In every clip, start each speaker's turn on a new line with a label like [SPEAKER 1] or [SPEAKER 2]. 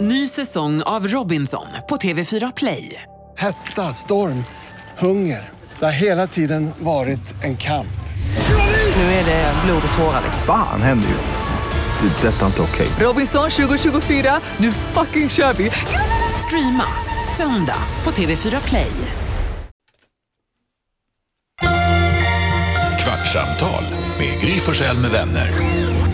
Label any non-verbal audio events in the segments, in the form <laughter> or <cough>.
[SPEAKER 1] Ny säsong av Robinson på TV4 Play.
[SPEAKER 2] Hetta, storm, hunger. Det har hela tiden varit en kamp.
[SPEAKER 1] Nu är det blod och tårar. liksom.
[SPEAKER 3] Fan händer just nu. Det. är Detta är inte okej.
[SPEAKER 1] Robinson 2024, nu fucking kör vi! Streama söndag på TV4 Play.
[SPEAKER 4] Kvartsamtal med Gry Forssell med vänner.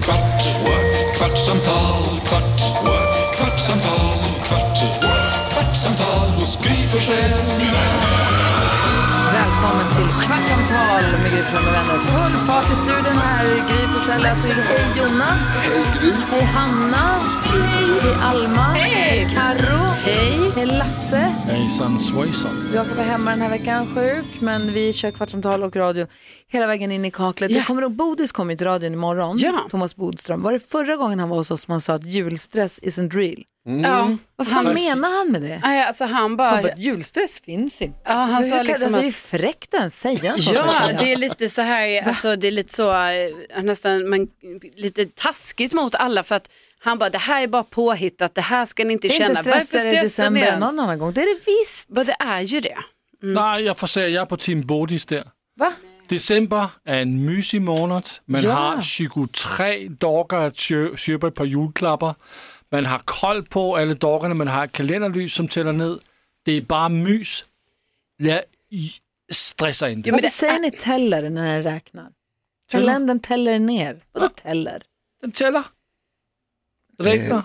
[SPEAKER 4] Kvart, what? kvartsamtal, kvart, what? kvartsamtal, kvart, what? kvartsamtal hos Gry Forssell med vänner.
[SPEAKER 5] Välkommen till Kvartsamtal med Gry Forssell med vänner. Full fart i studion här. Gry Forssell läser in. Hej Jonas. Hej Gry. Hej Hanna. Hej Alma. Hej Carro. Hej. Hej Lasse.
[SPEAKER 6] Hejsan svejsan.
[SPEAKER 5] Jakob är hemma den här veckan, sjuk. Men vi kör Kvartsamtal och radio hela vägen in i kaklet. Det kommer, Bodis kommer ju till radion imorgon.
[SPEAKER 7] Ja.
[SPEAKER 5] Thomas Bodström. Var det förra gången han var hos oss som han sa att julstress isn't real? Mm.
[SPEAKER 7] Ja,
[SPEAKER 5] Vad fan
[SPEAKER 7] Han-
[SPEAKER 5] menar han med det?
[SPEAKER 7] Nej, alltså han bara...
[SPEAKER 5] Han bara, julstress finns inte.
[SPEAKER 7] ja, han
[SPEAKER 5] Hur
[SPEAKER 7] sa
[SPEAKER 5] kan-
[SPEAKER 7] liksom
[SPEAKER 5] alltså,
[SPEAKER 7] att...
[SPEAKER 5] det är fräckt att ens säga en sån sak,
[SPEAKER 7] Ja,
[SPEAKER 5] känner jag.
[SPEAKER 7] det är lite så här, alltså det är lite så, eh, nästan man, lite taskigt mot alla för att han bara, det här är bara påhittat, det här ska ni inte
[SPEAKER 5] Det är
[SPEAKER 7] känna.
[SPEAKER 5] inte stressare i december än någon annan gång. Det är det visst.
[SPEAKER 7] Men det är ju det.
[SPEAKER 6] Nej, jag får säga, jag är på Team Bodis där.
[SPEAKER 5] Va?
[SPEAKER 6] December är en mysig månad. Man
[SPEAKER 5] Ja.
[SPEAKER 6] har 23 dagar att kö- köpa ett par julklappar. Man har koll på alla dagarna, man har ett kalenderlys som täller ned. Det är bara mys. Jag stressar inte.
[SPEAKER 7] Jo, men
[SPEAKER 5] Varför
[SPEAKER 7] det
[SPEAKER 5] säger
[SPEAKER 7] är,
[SPEAKER 5] ni teller när den räknar?
[SPEAKER 6] Teller.
[SPEAKER 5] Kalendern teller ner. Vadå teller?
[SPEAKER 6] Den täller. Räknar.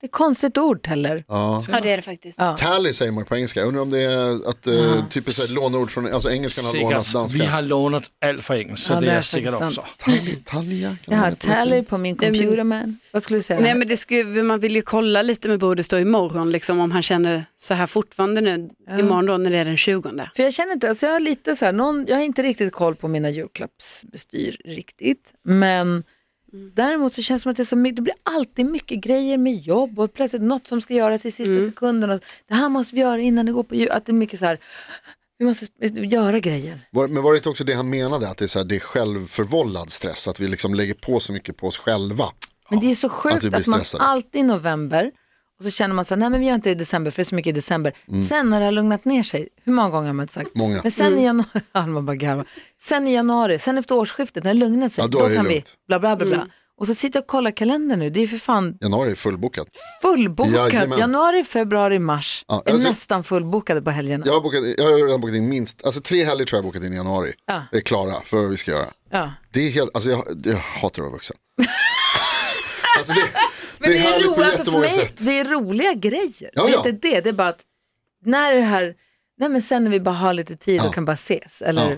[SPEAKER 5] Det är ett konstigt ord teller.
[SPEAKER 8] Ja.
[SPEAKER 7] ja, det är det faktiskt.
[SPEAKER 8] Tally säger man på engelska. Jag Undrar om det är att uh, typiskt ett låneord från alltså engelskan har lånat
[SPEAKER 6] Säkert.
[SPEAKER 8] danska.
[SPEAKER 6] Vi har lånat allt för engelsk, så
[SPEAKER 5] Ja,
[SPEAKER 6] det
[SPEAKER 5] det är
[SPEAKER 6] är säkert
[SPEAKER 5] faktiskt
[SPEAKER 6] också.
[SPEAKER 5] sant.
[SPEAKER 8] Tally, talja.
[SPEAKER 5] Jag har tally på min
[SPEAKER 7] men-
[SPEAKER 5] computer man. Vad skulle du säga?
[SPEAKER 7] Nej, men det skulle, man vill ju kolla lite med Bodis då imorgon, liksom, om han känner så här fortfarande nu, imorgon då när det är den 20.
[SPEAKER 5] För jag känner inte, alltså jag har lite så här, någon, jag har inte riktigt koll på mina julklappsbestyr riktigt. Men däremot så känns det som att det, är så, my- det blir alltid mycket grejer med jobb och plötsligt något som ska göras i sista sekunden. Och det här måste vi göra innan det går på jul. Att det är mycket så här, vi måste göra grejer.
[SPEAKER 8] Var, men var det inte också det han menade, att det är, så här, det är självförvållad stress, att vi liksom lägger på så mycket på oss själva?
[SPEAKER 5] Men det är så
[SPEAKER 8] att
[SPEAKER 5] sjukt
[SPEAKER 8] vi
[SPEAKER 5] att,
[SPEAKER 8] blir
[SPEAKER 5] man
[SPEAKER 8] stressade.
[SPEAKER 5] alltid i november och så känner man så här, nej men vi gör inte det i december för det är så mycket i december. Sen när det har lugnat ner sig, hur många gånger har man inte sagt?
[SPEAKER 8] Mm. Många.
[SPEAKER 5] Men sen i januari, <laughs> Alma bara garvar. Sen i januari, sen efter årsskiftet när det lugnat sig,
[SPEAKER 8] Ja,
[SPEAKER 5] då,
[SPEAKER 8] då är det
[SPEAKER 5] kan vi
[SPEAKER 8] lugnt.
[SPEAKER 5] bla bla bla. bla. Och så sitter jag och kollar kalendern nu, det är för fan
[SPEAKER 8] Januari är fullbokat.
[SPEAKER 5] fullbokat.
[SPEAKER 8] Jajamän.
[SPEAKER 5] Januari, februari, mars
[SPEAKER 8] Ja,
[SPEAKER 5] är
[SPEAKER 8] alltså-
[SPEAKER 5] nästan fullbokade på helgerna.
[SPEAKER 8] Jag har, bokat, jag har redan bokat in minst, alltså tre helger tror jag har bokat in i januari.
[SPEAKER 5] Ja.
[SPEAKER 8] Det är klara för vad vi ska göra.
[SPEAKER 5] Ja.
[SPEAKER 8] Det är helt, alltså jag, jag hatar att vara
[SPEAKER 6] <laughs>
[SPEAKER 8] vuxen. alltså det,
[SPEAKER 5] Men det är,
[SPEAKER 8] härligt
[SPEAKER 5] ro,
[SPEAKER 8] på
[SPEAKER 5] alltså för
[SPEAKER 8] jättemånga
[SPEAKER 5] mig,
[SPEAKER 8] sätt.
[SPEAKER 5] det är roliga grejer.
[SPEAKER 8] Ja,
[SPEAKER 5] det är
[SPEAKER 8] ja.
[SPEAKER 5] inte det, det är bara att när det här, nej men sen när vi bara har lite tid och kan bara ses. Eller,
[SPEAKER 8] Ja.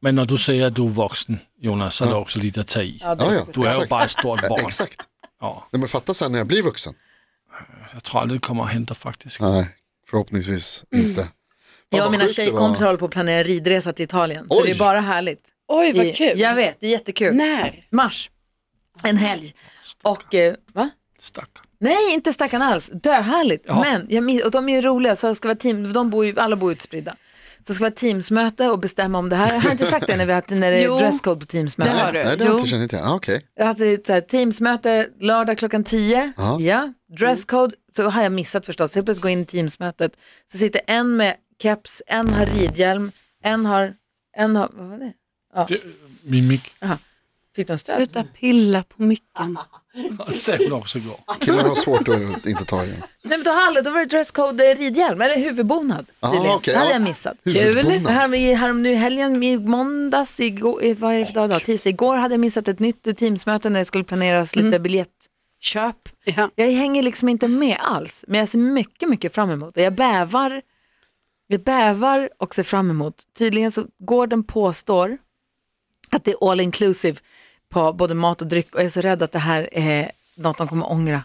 [SPEAKER 6] Men när du säger att du är vuxen, Jonas, så är det också lite att ta i.
[SPEAKER 8] Ja, ja,
[SPEAKER 6] Du är ju
[SPEAKER 8] exakt.
[SPEAKER 6] bara ett
[SPEAKER 8] <laughs>
[SPEAKER 6] stort barn.
[SPEAKER 8] Exakt.
[SPEAKER 6] Ja.
[SPEAKER 8] Nej, men fatta sen när jag blir vuxen.
[SPEAKER 6] Jag tror aldrig det kommer att hända faktiskt.
[SPEAKER 8] Nej, förhoppningsvis inte. Fan,
[SPEAKER 5] Jag
[SPEAKER 8] vad
[SPEAKER 5] och mina
[SPEAKER 8] sjukt det
[SPEAKER 5] tjejkompisar
[SPEAKER 8] var.
[SPEAKER 5] håller på att planera ridresa till Italien. Så
[SPEAKER 8] Oj.
[SPEAKER 5] det är bara härligt.
[SPEAKER 7] Oj,
[SPEAKER 5] I- Jag vet, det är jättekul.
[SPEAKER 7] När?
[SPEAKER 5] Mars, en helg. Och, eh, va?
[SPEAKER 6] Stackarn.
[SPEAKER 5] Nej, inte stackarna alls. Döhärligt. Men, jag, min- och de är ju roliga, så jag ska vara team, de bor ju, alla bor utspridda. Så det ska vara teamsmöte och bestämma om det här. Jag har inte sagt det när, vi har, haft- när det
[SPEAKER 7] Jo,
[SPEAKER 5] är dresscode på teamsmöte.
[SPEAKER 7] det har du.
[SPEAKER 8] Nej, det har
[SPEAKER 7] Jo.
[SPEAKER 8] jag inte känner till. Ah, Okej,
[SPEAKER 5] Jag hade ett så här, teamsmöte lördag klockan 10.
[SPEAKER 8] Ja.
[SPEAKER 5] Ja. Dresscode, så har jag missat förstås. Helt plötsligt går jag in i teamsmötet. Så sitter en med keps, en har ridhjälm, en har, en har, vad var det?
[SPEAKER 6] Mimik.
[SPEAKER 5] Fick de stöd?
[SPEAKER 7] Sluta pilla på micken.
[SPEAKER 6] Sen också igår.
[SPEAKER 8] killar har svårt att inte ta i den.
[SPEAKER 5] Nej men då, har alla, då var det dresscode eh, ridhjälm, eller huvudbonad.
[SPEAKER 8] Ah,
[SPEAKER 5] tydligen.
[SPEAKER 8] okej,
[SPEAKER 5] det hade
[SPEAKER 8] ja.
[SPEAKER 5] jag missat.
[SPEAKER 8] Huvudbonad.
[SPEAKER 5] Det här med, här nu i helgen, i måndags, igår, eh, vad är det för dag? idag? Tisdag. Igår hade jag missat ett nytt eh, teamsmöte när det skulle planeras lite biljettköp.
[SPEAKER 7] Ja.
[SPEAKER 5] Jag hänger liksom inte med alls, men jag ser mycket, mycket fram emot det. Jag bävar, jag bävar och ser fram emot. Tydligen så gården påstår att det är all inclusive på både mat och dryck och jag är så rädd att det här är något de kommer ångra.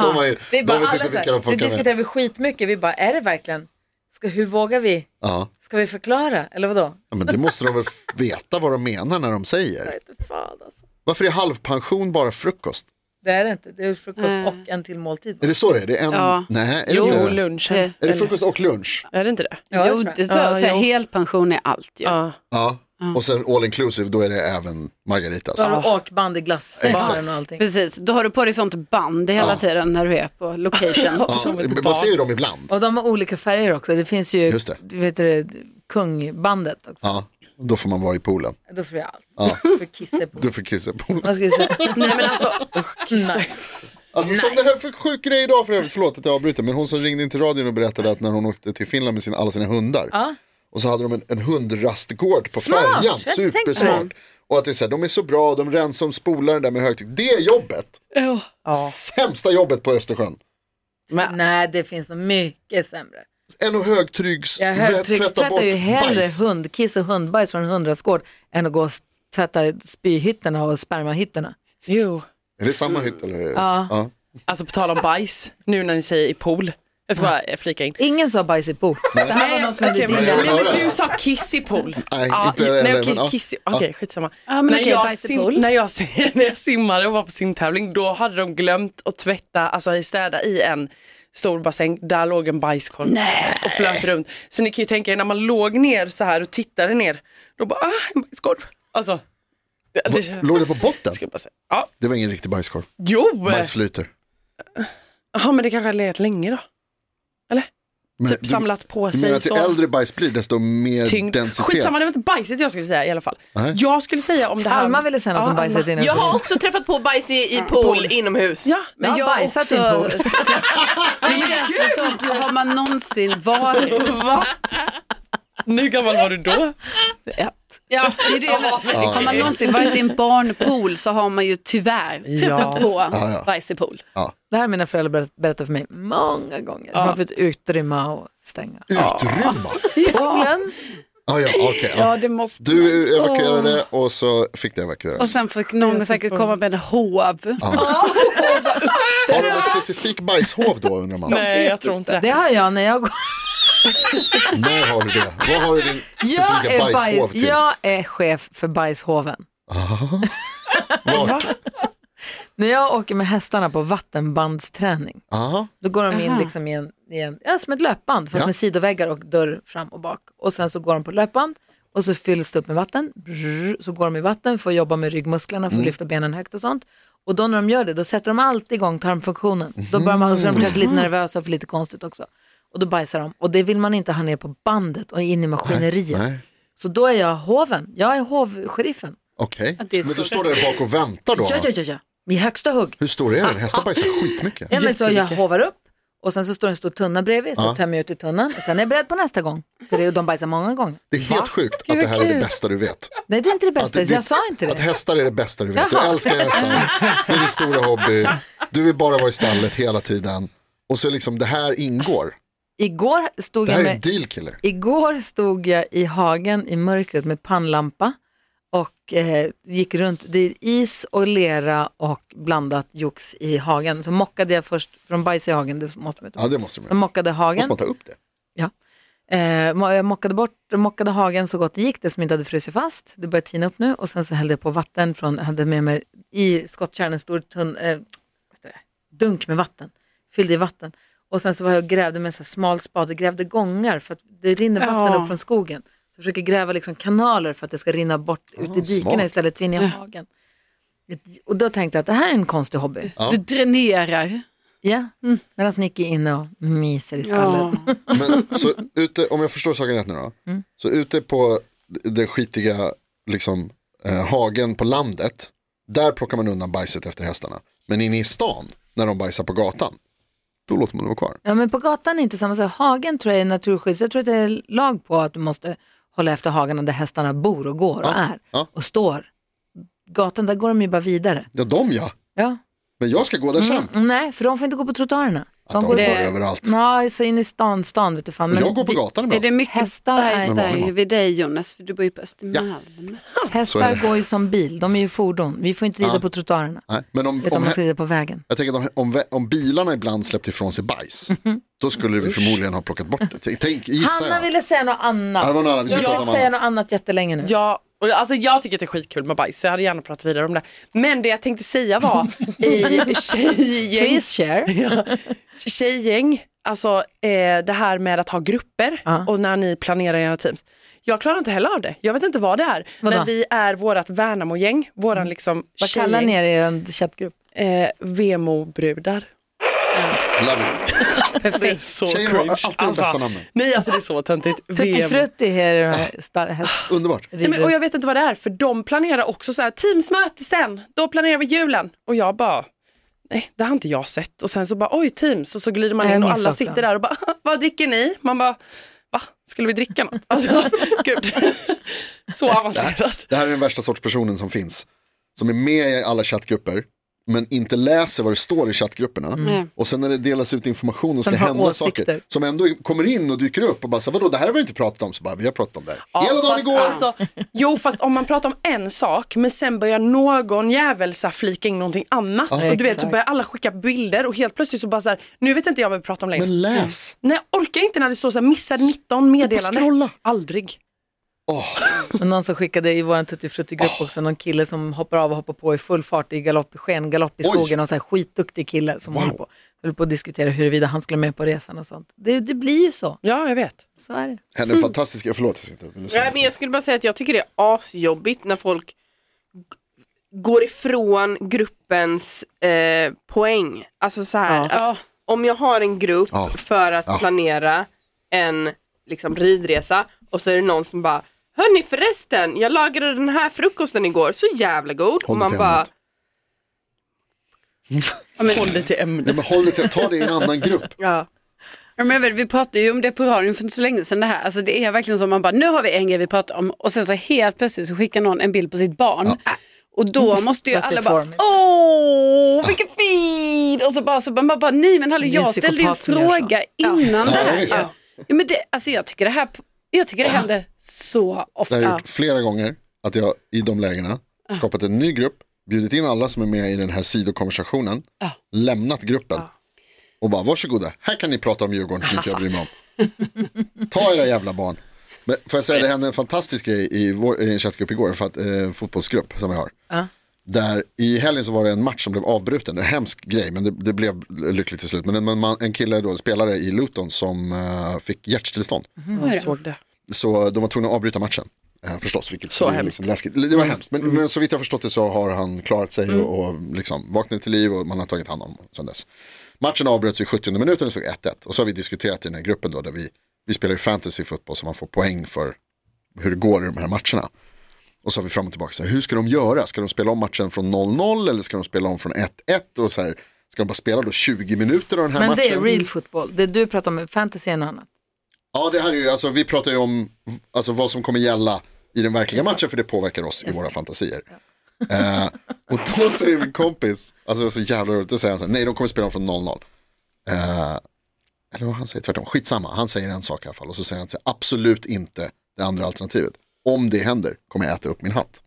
[SPEAKER 8] De, har ju,
[SPEAKER 5] Vi
[SPEAKER 8] de
[SPEAKER 5] bara,
[SPEAKER 8] vet
[SPEAKER 5] alla
[SPEAKER 8] inte
[SPEAKER 5] så
[SPEAKER 8] vilka de
[SPEAKER 5] här, det
[SPEAKER 8] funkar med.
[SPEAKER 5] diskuterar vi skitmycket, vi bara, är det verkligen, ska, hur vågar vi,
[SPEAKER 8] Ja,
[SPEAKER 5] ska vi förklara eller vadå?
[SPEAKER 8] Ja, men det måste de väl f- veta vad de menar när de säger.
[SPEAKER 5] Inte fan alltså.
[SPEAKER 8] Varför är halvpension bara frukost?
[SPEAKER 5] Det är det inte, det är frukost och en till måltid.
[SPEAKER 8] Är det så det är? Det är en...
[SPEAKER 7] Ja.
[SPEAKER 8] Nej, är det inte det?
[SPEAKER 9] lunchen.
[SPEAKER 7] Eh,
[SPEAKER 8] Är det frukost och lunch?
[SPEAKER 9] Är det inte det?
[SPEAKER 5] Ja,
[SPEAKER 7] jo,
[SPEAKER 5] tror jag.
[SPEAKER 7] det tror jag.
[SPEAKER 9] Ja,
[SPEAKER 7] Så här,
[SPEAKER 9] jo.
[SPEAKER 7] helpension är allt ju.
[SPEAKER 9] Ja.
[SPEAKER 8] Ja, Och sen all inclusive, då är det även margaritas.
[SPEAKER 5] Bara och band i glassbaren och allting.
[SPEAKER 7] Precis, då har du på dig sånt band hela tiden när du är på
[SPEAKER 9] <laughs>
[SPEAKER 7] location.
[SPEAKER 8] Ja, man ser ju dem ibland.
[SPEAKER 5] Och de har olika färger också. Det finns ju
[SPEAKER 8] Just det.
[SPEAKER 5] du Vet det, kungbandet också.
[SPEAKER 8] Ja, då får man vara i poolen.
[SPEAKER 5] Då får jag allt. Ja. För kissa på.
[SPEAKER 8] Ah. Du får kissa i poolen.
[SPEAKER 5] Vad ska vi säga?
[SPEAKER 7] <laughs> Nej men alltså,
[SPEAKER 5] Nej.
[SPEAKER 8] Alltså som det här för sjuk grej idag för övrigt, förlåt att jag avbryter, men hon som ringde in till radion och berättade att när hon åkte till Finland med sina, alla sina hundar och så hade de en, en hundrastgård på
[SPEAKER 5] Smart, jag hade
[SPEAKER 8] färjan,
[SPEAKER 5] tänkt på det.
[SPEAKER 8] supersmart. Och att det är så här, de är så bra, de rensar och spolar den där med högtryck. Det är jobbet,
[SPEAKER 5] Ja.
[SPEAKER 8] sämsta jobbet på Östersjön.
[SPEAKER 5] Nej, det finns nog mycket sämre.
[SPEAKER 8] En och högtrycks,
[SPEAKER 5] Jag
[SPEAKER 8] vä-
[SPEAKER 5] högtryckstvättar ju hellre hundkiss och hundbajs från en hundrastgård än att gå och s- tvätta spyhytterna och spermahytterna.
[SPEAKER 9] Jo.
[SPEAKER 8] Är det samma hytt eller?
[SPEAKER 5] Ja.
[SPEAKER 9] Alltså på tal om bajs, nu när ni säger i pool. Jag ska bara eh, flika in.
[SPEAKER 5] Ingen sa bajs i pool. Det här var någon som hade
[SPEAKER 9] Okej, men,
[SPEAKER 5] dilla.
[SPEAKER 9] nej, men du sa kiss i pool.
[SPEAKER 8] Nej,
[SPEAKER 9] Ja,
[SPEAKER 8] inte
[SPEAKER 9] nej,
[SPEAKER 8] eller,
[SPEAKER 9] okej,
[SPEAKER 8] men, ja.
[SPEAKER 9] kiss i, okej, skitsamma.
[SPEAKER 7] Ja, men okej,
[SPEAKER 9] jag
[SPEAKER 7] bajs i pool.
[SPEAKER 9] när, jag, sim- <laughs> när jag simmade och var på simtävling, då hade de glömt att tvätta, alltså städa i en stor bassäng. Där låg en bajskorv och flöt runt. Så ni kan ju tänka er när man låg ner så här och tittade ner, då bara, ah, en bajskorv. Alltså, det, det,
[SPEAKER 8] Va- Låg det på botten?
[SPEAKER 9] jag bara säga. Ja,
[SPEAKER 8] Det var ingen riktig bajskorv.
[SPEAKER 9] jo!
[SPEAKER 8] Bajsflyter.
[SPEAKER 9] Ja, men det kanske har legat länge då.
[SPEAKER 8] Men
[SPEAKER 9] Typ
[SPEAKER 8] du-
[SPEAKER 9] samlat på
[SPEAKER 8] Du menar
[SPEAKER 9] sig
[SPEAKER 8] att ju
[SPEAKER 9] så.
[SPEAKER 8] äldre bajs blir desto mer
[SPEAKER 9] tyngd.
[SPEAKER 8] densitet?
[SPEAKER 9] Skitsamma, det var inte bajset jag skulle säga i alla fall.
[SPEAKER 8] Nej.
[SPEAKER 9] Jag skulle säga om det här...
[SPEAKER 5] Alma ville säga något om bajset innan.
[SPEAKER 10] Jag har också träffat på bajs i, i pool inomhus.
[SPEAKER 9] Ja,
[SPEAKER 7] men
[SPEAKER 5] Jag
[SPEAKER 7] jag,
[SPEAKER 5] har bajsat
[SPEAKER 7] också...
[SPEAKER 5] i en pool.
[SPEAKER 7] <laughs> det känns väl som, har man någonsin varit?
[SPEAKER 9] <laughs> va? Nu gammal var du då?
[SPEAKER 7] Ja, det är det. Har man någonsin varit i en barnpool så har man ju tyvärr träffat på
[SPEAKER 8] ja.
[SPEAKER 7] bajs i pool.
[SPEAKER 5] Det här har mina föräldrar berätt- berättat för mig många gånger. De har fått utrymma och stänga.
[SPEAKER 9] <laughs>
[SPEAKER 8] Utrymma?
[SPEAKER 5] Poolen,
[SPEAKER 8] Ah, ja, okej, ja.
[SPEAKER 7] det måste
[SPEAKER 8] Du evakuerade och så fick det evakueras.
[SPEAKER 7] Och sen fick någon säkert komma med en hov.
[SPEAKER 8] Har de en specifik bajshov då undrar man?
[SPEAKER 9] Nej, jag tror inte
[SPEAKER 5] det
[SPEAKER 9] det.
[SPEAKER 5] har jag när jag går.
[SPEAKER 8] När har du det? Vad har du din
[SPEAKER 5] Jag
[SPEAKER 8] specifika
[SPEAKER 5] är,
[SPEAKER 8] bajshov
[SPEAKER 5] bajs,
[SPEAKER 8] till?
[SPEAKER 5] jag är chef för bajshoven.
[SPEAKER 8] Vart?
[SPEAKER 5] När jag åker med hästarna på vattenbandsträning,
[SPEAKER 8] Aha.
[SPEAKER 5] då går de in liksom i en, i en ja, som ett löpband, fast
[SPEAKER 8] Ja.
[SPEAKER 5] med sidoväggar och dörr fram och bak. Och sen så går de på löpband och så fylls det upp med vatten. Brrr, så går de i vatten, får jobba med ryggmusklerna, får
[SPEAKER 8] Mm.
[SPEAKER 5] lyfta benen högt och sånt. Och då när de gör det, då sätter de alltid igång tarmfunktionen. Då börjar man, och så är de kanske lite nervösa och för lite konstigt också. Och då bajsar de. Och det vill man inte ha ner på bandet och in i maskineriet.
[SPEAKER 8] Nej,
[SPEAKER 5] Så då är jag hoven. Jag är hovsheriffen.
[SPEAKER 8] okej.
[SPEAKER 7] det är
[SPEAKER 8] Men du
[SPEAKER 7] så.
[SPEAKER 8] står där bak och väntar då?
[SPEAKER 5] Ja,
[SPEAKER 8] va?
[SPEAKER 5] ja, ja, ja. Med högsta hugg.
[SPEAKER 8] Hur stor är den? Hästar bajsar skitmycket.
[SPEAKER 5] Ja, men så jag hovar upp och sen så står det en stor tunna bredvid så
[SPEAKER 8] Ja.
[SPEAKER 5] tömmer jag ut i tunnan och sen är jag beredd på nästa gång. För det, är- de bajsar många gånger.
[SPEAKER 8] Det är helt sjukt att det här är det bästa du vet.
[SPEAKER 5] Nej det är inte det bästa,
[SPEAKER 8] Att det-
[SPEAKER 5] jag sa inte
[SPEAKER 8] Att
[SPEAKER 5] det.
[SPEAKER 8] hästar är det bästa du vet. Du
[SPEAKER 5] Jaha.
[SPEAKER 8] älskar hästar. Det är din stora hobby. Du vill bara vara i stallet hela tiden. Och så liksom det här ingår.
[SPEAKER 5] Igår stod,
[SPEAKER 8] Det här
[SPEAKER 5] jag
[SPEAKER 8] är en
[SPEAKER 5] med,
[SPEAKER 8] deal killer.
[SPEAKER 5] igår stod jag i hagen i mörkret med pannlampa och eh, gick runt, det är is och lera och blandat jox i hagen. Så mockade jag först, för de bajsar i hagen, det måste man inte.
[SPEAKER 8] Ja det måste man.
[SPEAKER 5] De mockade hagen.
[SPEAKER 8] Måste man ta upp det?
[SPEAKER 5] Eh, mo- jag mockade, bort, mockade hagen så gott det gick, det som inte hade frusit fast. Det började tina upp nu och sen så hällde jag på vatten från, jag hade med mig i skottkärran en stor tunn, eh, vad heter det? dunk med vatten, fyllde i vatten. Och sen så var jag och grävde med en sån här smal spade, grävde gångar för att det rinner vatten
[SPEAKER 7] Ja.
[SPEAKER 5] upp från skogen. Så jag försöker gräva liksom kanaler för att det ska rinna bort ut i dikena
[SPEAKER 8] smart.
[SPEAKER 5] istället för in i hagen. Och då tänkte jag att det här är en konstig hobby. Ja.
[SPEAKER 7] Du dränerar.
[SPEAKER 5] Mm. Medan Nicky är inne och myser i stallet.
[SPEAKER 8] Men så ute, om jag förstår saken rätt nu då.
[SPEAKER 5] Mm.
[SPEAKER 8] Så ute på den skitiga liksom, eh, hagen på landet. Där plockar man undan bajset efter hästarna. Men inne i stan, när de bajsar på gatan. Då låter man dem vara kvar.
[SPEAKER 5] Ja, men på gatan är inte samma sak. Hagen tror jag är naturskydd, så jag tror att det är lag på att du måste hålla efter hagarna där hästarna bor och går och är
[SPEAKER 8] ja.
[SPEAKER 5] och står. Gatan, där går de ju bara vidare.
[SPEAKER 8] Ja, de ja.
[SPEAKER 5] Ja.
[SPEAKER 8] Men jag ska gå där sen.
[SPEAKER 5] Mm, nej, för de får inte gå på trottoarna.
[SPEAKER 8] Att de går
[SPEAKER 5] går...
[SPEAKER 8] överallt.
[SPEAKER 5] Nej, så in i stan, stan vet du fan.
[SPEAKER 8] Men jag går på
[SPEAKER 5] vi-
[SPEAKER 8] gatan
[SPEAKER 7] Är
[SPEAKER 8] ibland.
[SPEAKER 7] det mycket
[SPEAKER 5] Hästar
[SPEAKER 7] bajs
[SPEAKER 5] är-
[SPEAKER 7] där vid dig Jonas? För du bor ju på Östermalm.
[SPEAKER 8] Så är
[SPEAKER 5] Hästar
[SPEAKER 8] det.
[SPEAKER 5] går ju som bil, de är ju fordon. Vi får inte rida
[SPEAKER 8] Ja.
[SPEAKER 5] på trottoarna,
[SPEAKER 8] Nej, men om,
[SPEAKER 5] utan
[SPEAKER 8] om,
[SPEAKER 5] man ska rida på vägen.
[SPEAKER 8] jag tänker att om, om, om bilarna ibland släppte ifrån
[SPEAKER 5] <laughs>
[SPEAKER 8] sig bajs, då skulle vi förmodligen ha plockat bort det. Tänk- Tänk, gissar
[SPEAKER 5] Hanna
[SPEAKER 8] jag.
[SPEAKER 5] ville säga något
[SPEAKER 8] Ja, det
[SPEAKER 5] annat.
[SPEAKER 8] var något annat. Vi
[SPEAKER 5] Jag
[SPEAKER 8] ska prata
[SPEAKER 5] vill
[SPEAKER 8] om
[SPEAKER 5] säga
[SPEAKER 8] annat.
[SPEAKER 5] något annat jättelänge nu.
[SPEAKER 9] Ja, och alltså jag tycker att det är skitkul med bajs, så jag hade gärna pratat vidare om det. Men det jag tänkte säga
[SPEAKER 5] <laughs>
[SPEAKER 9] var i tjejgäng,
[SPEAKER 5] Please share.
[SPEAKER 9] tjejgäng alltså eh, det här med att ha grupper
[SPEAKER 5] Ja.
[SPEAKER 9] och när ni planerar era teams. Jag klarar inte heller av det. Jag vet inte vad det är.
[SPEAKER 5] Vadå?
[SPEAKER 9] Men vi är vårat Värnamo-gäng, våran liksom
[SPEAKER 5] Vad kallar ni er i er chattgrupp?
[SPEAKER 9] Eh, Vemo-brudar.
[SPEAKER 8] Love
[SPEAKER 5] <laughs>
[SPEAKER 8] it.
[SPEAKER 5] Perfekt.
[SPEAKER 9] Så
[SPEAKER 8] Tjejer har alltid de bästa namnen.
[SPEAKER 9] Nej alltså det är så töntigt.
[SPEAKER 5] Tutti
[SPEAKER 9] Vemo.
[SPEAKER 5] frutti är det
[SPEAKER 8] Ah.
[SPEAKER 5] här star- häst-
[SPEAKER 8] Underbart.
[SPEAKER 9] Nej, men, och jag vet inte vad det är för de planerar också så här teamsmöte sen, då planerar vi julen. Och jag bara, nej det har inte jag sett. Och sen så bara oj teams och så glider man
[SPEAKER 5] Jag
[SPEAKER 9] in och
[SPEAKER 5] minns
[SPEAKER 9] alla
[SPEAKER 5] också.
[SPEAKER 9] sitter där och bara "Ah, vad dricker ni? Man bara va, skulle vi dricka något? <laughs> Alltså gud, så avancerat.
[SPEAKER 8] Det här är den värsta sorts personen som finns. Som är med i alla chattgrupper, men inte läser vad det står i chattgrupperna.
[SPEAKER 7] Mm.
[SPEAKER 8] Och sen när det delas ut information och ska
[SPEAKER 5] Mm. Som har
[SPEAKER 8] hända
[SPEAKER 5] åsikter.
[SPEAKER 8] saker, som ändå kommer in och dyker upp och bara så här, vadå, det här har vi inte pratat om, så bara, vi har pratat om det här. Hela dagen
[SPEAKER 9] fast,
[SPEAKER 8] igår!
[SPEAKER 9] alltså, jo fast om man pratar om en sak men sen börjar någon jävel så här flika in någonting annat. och du vet så
[SPEAKER 5] Exakt.
[SPEAKER 9] börjar alla skicka bilder och helt plötsligt så bara så här, nu vet inte jag vad vi pratar om längre. Mm.
[SPEAKER 8] Men läs!
[SPEAKER 9] Nej jag orkar inte när det står så här missade 19 meddelanden.
[SPEAKER 8] scrolla.
[SPEAKER 9] Aldrig.
[SPEAKER 5] Och någon som skickade i vår tuttifrutti-grupp också, någon kille som hoppar av och hoppar på i full fart i galopp, i skengalopp i
[SPEAKER 8] Oj.
[SPEAKER 5] skogen, och så här skitduktig kille som håller, på, håller på att diskutera huruvida han skulle med på resan och sånt. Det, det blir ju så,
[SPEAKER 9] Ja jag vet.
[SPEAKER 5] så är det.
[SPEAKER 8] Henne
[SPEAKER 9] Mm.
[SPEAKER 8] är fantastiska, förlåt jag ska inte upp, men nu säger
[SPEAKER 10] Nej,
[SPEAKER 8] jag.
[SPEAKER 10] men jag skulle bara säga att jag tycker det är asjobbigt när folk g- går ifrån gruppens eh, poäng. Alltså så här, att om jag har en grupp
[SPEAKER 8] Ja.
[SPEAKER 10] för att planera en liksom, ridresa och så är det någon som bara Hörni förresten, jag lagade den här frukosten igår, så jävla god.
[SPEAKER 8] Håll
[SPEAKER 10] och man
[SPEAKER 8] till
[SPEAKER 10] bara,
[SPEAKER 8] ämnet.
[SPEAKER 9] Håll dig till ämnet.
[SPEAKER 8] Nej, men håll det till, ta det i en annan grupp.
[SPEAKER 10] ja.
[SPEAKER 7] Ja, men jag vet, vi pratade ju om det på radion för inte så länge sedan det här. Alltså, det är verkligen som man bara, nu har vi en grej vi pratar om och sen så helt plötsligt så skickar någon en bild på sitt barn. Och då måste ju
[SPEAKER 5] Fast det
[SPEAKER 7] alla
[SPEAKER 5] är
[SPEAKER 7] bara,
[SPEAKER 5] formigt.
[SPEAKER 7] åh vilken fin! Och så bara, så bara, man bara nej men hallå
[SPEAKER 5] Det är en
[SPEAKER 7] jag ställde ju en
[SPEAKER 5] psykopat som gör så.
[SPEAKER 7] fråga innan det
[SPEAKER 8] Ja,
[SPEAKER 7] här.
[SPEAKER 8] visst.
[SPEAKER 7] Ja. Ja, men det, alltså jag tycker det här, jag tycker det händer så
[SPEAKER 8] Det
[SPEAKER 7] ofta.
[SPEAKER 8] har jag gjort flera gånger, att jag i de lägena skapat en ny grupp, bjudit in alla som är med i den här sidokonversationen, lämnat gruppen och bara varsågoda, här kan ni prata om Djurgården så mycket jag bryr mig om. Ta era jävla barn. Men får jag säga, det hände en fantastisk grej i, vår, i en chattgrupp igår, för att, eh, fotbollsgrupp som jag har. Där i helgen så var det en match som blev avbruten, en hemsk grej men det, det blev lyckligt till slut. Men en, man, en kille då, en spelare i Luton som eh, fick hjärtstillestånd.
[SPEAKER 9] Jag såg Mm-hmm. det.
[SPEAKER 8] Så eh, de var tvungna att avryta matchen. Eh, förstås, vilket
[SPEAKER 9] Så
[SPEAKER 8] det är
[SPEAKER 9] hemskt. Mm.
[SPEAKER 8] Liksom läskigt. Det var hemskt. Men, men så vitt jag förstått det så har han klarat sig och, och liksom vaknat till liv och man har tagit hand om honom sedan dess. Matchen avbröts vid 70 minuten och det stod 1-1. Och så har vi diskuterat i den här gruppen då, där vi, vi spelar ju fantasy fotboll så man får poäng för hur det går i de här matcherna. Och så har vi fram och tillbaka, så här, hur ska de göra? Ska de spela om matchen från 0-0 eller ska de spela om från 1-1? Och så här, ska de bara spela då 20 minuter av den här
[SPEAKER 5] Men
[SPEAKER 8] matchen?
[SPEAKER 5] det är real football, det du pratar om, fantasy är något annat.
[SPEAKER 8] Ja, det här är ju, alltså, vi pratar ju om alltså, vad som kommer gälla i den verkliga matchen för det påverkar oss i våra fantasier. Eh, och då säger min kompis, alltså det var så jävla roligt, då säger han så här, nej de kommer spela från 0-0. Eh, eller vad han säger, tvärtom, skitsamma, han säger en sak i alla fall och så säger han så här, absolut inte det andra alternativet. Om det händer kommer jag äta upp min hatt.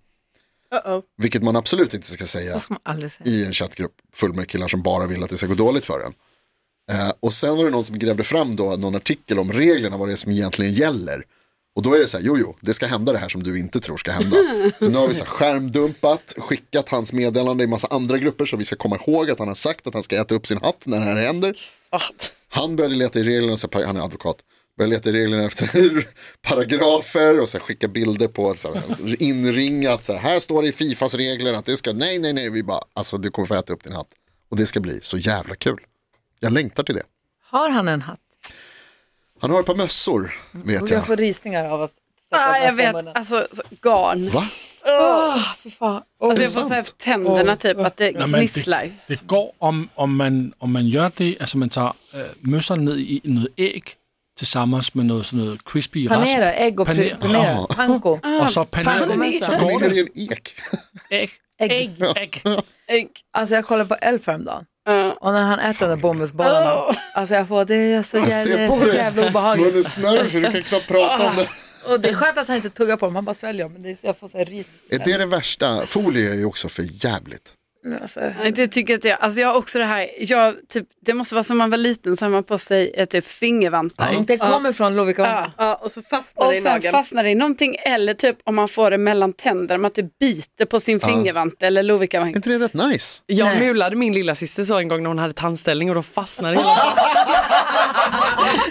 [SPEAKER 10] Uh-oh.
[SPEAKER 8] Vilket man absolut inte ska säga
[SPEAKER 5] Det ska man aldrig säga.
[SPEAKER 8] i en chattgrupp full med killar som bara vill att det ska gå dåligt för en. Eh, och sen var det någon som grävde fram då någon artikel om reglerna, vad det är som egentligen gäller. Och då är det så här, jo jo, det ska hända det här som du inte tror ska hända. Så nu har vi så här skärmdumpat, skickat hans meddelande i massa andra grupper så vi ska komma ihåg att han har sagt att han ska äta upp sin hatt när det här händer. Han började leta i reglerna, så här, han är advokat, började leta i reglerna efter <laughs> paragrafer och så här, skicka bilder på så här, inringat, så här, här står det i Fifas regler att det ska, nej nej nej, vi bara, alltså du kommer få äta upp din hatt. Och det ska bli så jävla kul. Jag längtar till det.
[SPEAKER 5] Har han en hatt?
[SPEAKER 8] Han har ett par mössor, vet
[SPEAKER 5] Mm. Och
[SPEAKER 8] jag.
[SPEAKER 5] jag får rysningar av att stoppa
[SPEAKER 7] Ah, jag
[SPEAKER 5] näsan i
[SPEAKER 7] vet,
[SPEAKER 5] munnen.
[SPEAKER 7] alltså så- garn.
[SPEAKER 8] Va?
[SPEAKER 5] Åh, fy fan.
[SPEAKER 7] Alltså, jag får så här tänderna typ, att det
[SPEAKER 6] Nej, men
[SPEAKER 7] gnisslar.
[SPEAKER 6] Det går om, om, man, om man gör det, alltså man tar äh, mössan ned i något ägg tillsammans med något, sån något crispy
[SPEAKER 5] Panera, ägg och
[SPEAKER 6] Paner-
[SPEAKER 5] pr- panera, panko.
[SPEAKER 6] och så
[SPEAKER 5] Panko
[SPEAKER 6] panerar
[SPEAKER 5] med
[SPEAKER 8] Han
[SPEAKER 5] sås.
[SPEAKER 8] ligger i en ek.
[SPEAKER 6] ägg,
[SPEAKER 5] Ägg.
[SPEAKER 6] ägg.
[SPEAKER 7] Ägg.
[SPEAKER 5] Alltså jag kollade på Elf häromdagen.
[SPEAKER 7] Ja.
[SPEAKER 5] Och när han äter de där bomullsbollarna, alltså jag får det är så
[SPEAKER 8] Jag ser
[SPEAKER 5] jävla,
[SPEAKER 8] på
[SPEAKER 5] så
[SPEAKER 8] dig.
[SPEAKER 5] jävla
[SPEAKER 8] Munnen
[SPEAKER 5] obehagligt.
[SPEAKER 8] snör så du kan
[SPEAKER 5] <laughs>
[SPEAKER 8] knappt prata om det.
[SPEAKER 5] Och det är skönt att han inte tuggar på dem, han bara sväljer dem. Men det är, så- jag får så här ris.
[SPEAKER 8] Är det det värsta? Folie är ju också för jävligt.
[SPEAKER 5] Alltså,
[SPEAKER 7] Nej, det tycker inte jag. Alltså jag har också det här, jag, typ, det måste vara som man var liten så har man på sig eh, typ fingervantar.
[SPEAKER 5] det kommer från Lovikka.
[SPEAKER 7] Ja.
[SPEAKER 11] Ja, och så fastnar
[SPEAKER 7] Och
[SPEAKER 11] det i
[SPEAKER 7] sen
[SPEAKER 11] nageln.
[SPEAKER 7] fastnar det i någonting eller typ om man får det mellan tänderna, man typ biter på sin fingervante eller
[SPEAKER 8] Är
[SPEAKER 7] lovikkavante.
[SPEAKER 8] inte det rätt nice?
[SPEAKER 6] Jag
[SPEAKER 5] Nej.
[SPEAKER 6] mulade min lilla syster så en gång när hon hade tandställning och då fastnade hela <laughs>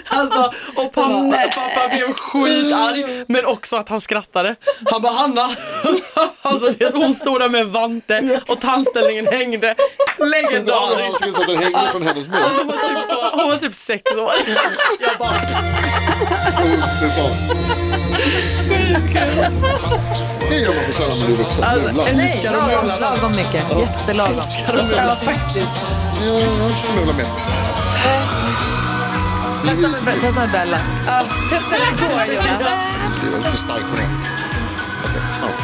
[SPEAKER 6] Alltså, och pappa, pappa blev skitarg men också att han skrattade. Han bara Hanna, <laughs> alltså, det- hon stod där med vante och tandställningen hängde.
[SPEAKER 8] Ja,
[SPEAKER 6] Legendariskt.
[SPEAKER 8] skulle säga att den hängde från hennes mun.
[SPEAKER 6] Hon var typ så- Hon var typ sex år. Jag bara,
[SPEAKER 8] Underbart. Det gör man för sällan när du är vuxen. Mula.
[SPEAKER 5] Nej, lagom, lagom mycket. Jättelagom.
[SPEAKER 8] Alltså,
[SPEAKER 7] Ja, faktiskt.
[SPEAKER 8] ja, jag ska mula mer.
[SPEAKER 5] Testa med- Testa med Bella.
[SPEAKER 7] Ja, testa det igår Jonas.
[SPEAKER 8] Jag är för stark på det. Okej, nice.